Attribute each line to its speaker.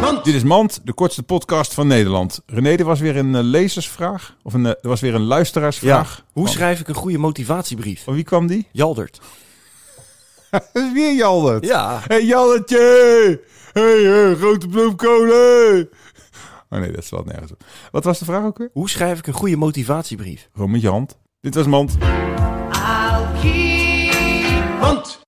Speaker 1: Mand.
Speaker 2: Dit is Mand, de kortste podcast van Nederland. René, er was weer een eh, lezersvraag. Of een, eh, er was weer een luisteraarsvraag.
Speaker 1: Hoe
Speaker 2: Van-
Speaker 1: schrijf ik een goede motivatiebrief?
Speaker 2: Van wie kwam die?
Speaker 1: Jaldert.
Speaker 2: Dat is weer Jaldert.
Speaker 1: Ja.
Speaker 2: Hé hey, Jalletje! Hé, hey, eh, grote bloemkolen! Oh nee, dat slaat nergens op. Wat was de vraag ook weer?
Speaker 1: Hoe schrijf ik een goede motivatiebrief?
Speaker 2: Gewoon met je hand. Dit was Mand.
Speaker 3: I'll keep. Mand.